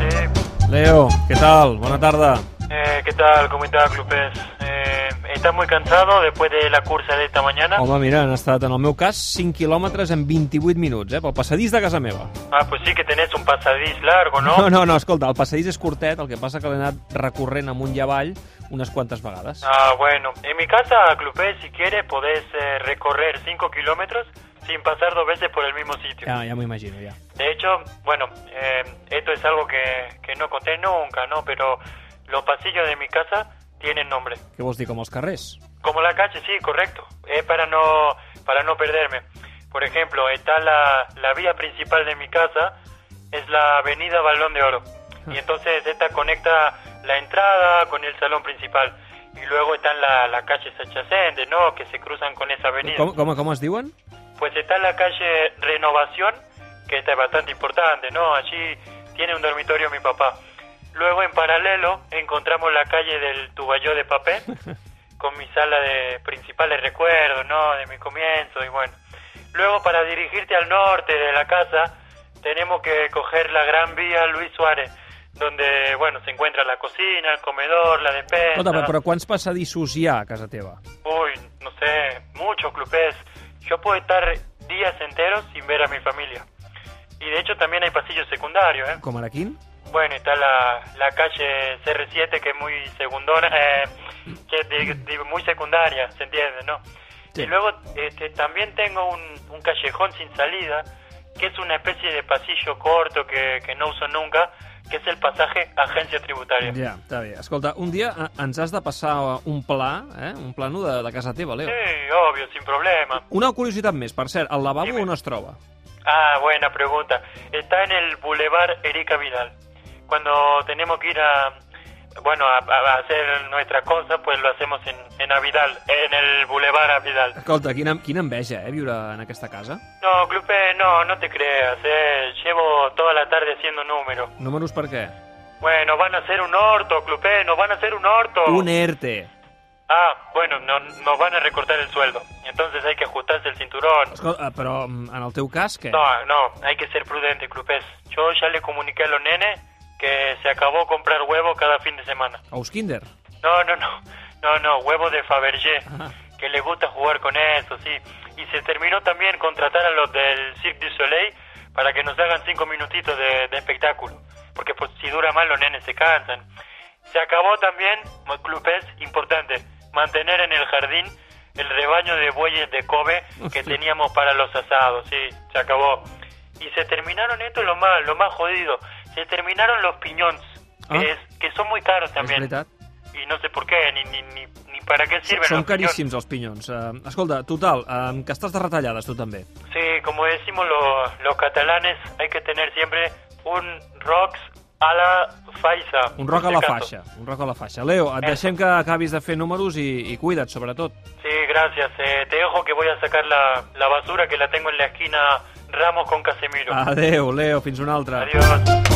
Eh, Leo, ¿qué tal? Buena tarde. eh, ¿Qué tal? ¿Cómo está, clubes? Eh, ¿Estás muy cansado después de la cursa de esta mañana? Home, mira, han estat, en el meu cas, 5 quilòmetres en 28 minuts, eh? Pel passadís de casa meva. Ah, pues sí que tenés un pasadís largo, ¿no? No, no, no, escolta, el passadís és curtet, el que passa que l'he anat recorrent amunt i avall unes quantes vegades. Ah, bueno. En mi casa, clubes, si quieres, podés eh, recorrer 5 kilómetros sin pasar dos veces por el mismo sitio. Ja, ja m'ho imagino, ja. De hecho, bueno, eh, esto es algo que, que no conté nunca, ¿no? Pero los pasillos de mi casa tienen nombre. Què vols dir, com els carrers? Como la calle, sí, correcto. Es para no, para no perderme. Por ejemplo, está la, la vía principal de mi casa, es la avenida Balón de Oro. Y entonces esta conecta la entrada con el salón principal. Y luego están la, la calle adyacentes, ¿no? Que se cruzan con esa avenida. Com, com, com es diuen? Pues está la calle Renovación, que esta es bastante importante, ¿no? Allí tiene un dormitorio mi papá. Luego, en paralelo, encontramos la calle del Tubayó de Papel, con mi sala de principales recuerdos, ¿no? De mi comienzo, y bueno. Luego, para dirigirte al norte de la casa, tenemos que coger la gran vía Luis Suárez, donde, bueno, se encuentra la cocina, el comedor, la despensa... Escolta, però, però quants passadissos hi ha a casa teva? Uy, no sé, muchos clubes. Yo puedo estar días enteros sin ver a mi familia. Y de hecho también hay pasillos secundarios, ¿eh? Com ara quin? Bueno, está la, la calle CR7 que es muy segundona, eh, que es de- de- muy secundaria, ¿se entiende, no? Sí. Y luego este, también tengo un, un callejón sin salida, que es una especie de pasillo corto que, que no uso nunca, que es el pasaje agencia tributaria. Ja, està bé. Escolta, un dia eh, ens has de passar un pla, eh? un plano de, de casa teva, Leo. Sí, obvio, sin problema. Una curiositat més, per cert, el lavabo on es troba? Ah, buena pregunta. Está en el Boulevard Erika Vidal. Cuando tenemos que ir a, bueno, a, a hacer nuestras cosas, pues lo hacemos en, en Avidal, en el Boulevard Avidal. Escolta, quina, quina enveja, eh, viure en aquesta casa. No, Clupe, no, no te creas, eh. Llevo toda la tarde haciendo números. Números per què? Bueno, van a hacer un orto, Clupe, nos van a hacer un orto. Un e- ERTE. Ah, bueno, no- nos van a recortar el sueldo. Entonces hay que ajustarse el cinturón. Escolta, eh, però mm, en el teu cas, què? No, no, hay que ser prudente, Clupés. Yo ya le comuniqué a los nenes que se acabó comprar huevo cada fin de semana. Ous Kinder. No, no, no, no, no, huevo de Fabergé, Ajá. que le gusta jugar con eso, sí. Y se terminó también contratar a los del Cirque du Soleil para que nos hagan cinco minutitos de, de espectáculo, porque pues, si dura más los nenes se cansan. Se acabó también, Clupés, importante, mantener en el jardín el rebaño de bueyes de Kobe que teníamos para los asados, sí, se acabó. Y se terminaron, esto es lo más, lo más jodido, se terminaron los piñones, que, Ah. es- que son muy caros también. És veritat. Y no sé por qué, ni, ni, ni, ni para qué sirven. Són los caríssims els pinyons. Uh, escolta, total, uh, que estàs de retallades tu també. piñones. Sí, como decimos los, los catalanes, hay que tener siempre un rocks a la faixa. Un roc a en la este caso. faixa, un roc a la faixa. Leo, et Eso. deixem que acabis de fer números i, i cuida't, sobretot. Sí, gracias. eh, te dejo que voy a sacar la, Ah, la basura que la tengo en la esquina Ramos con Casemiro. Adeu, Leo, fins una altra. Adiós.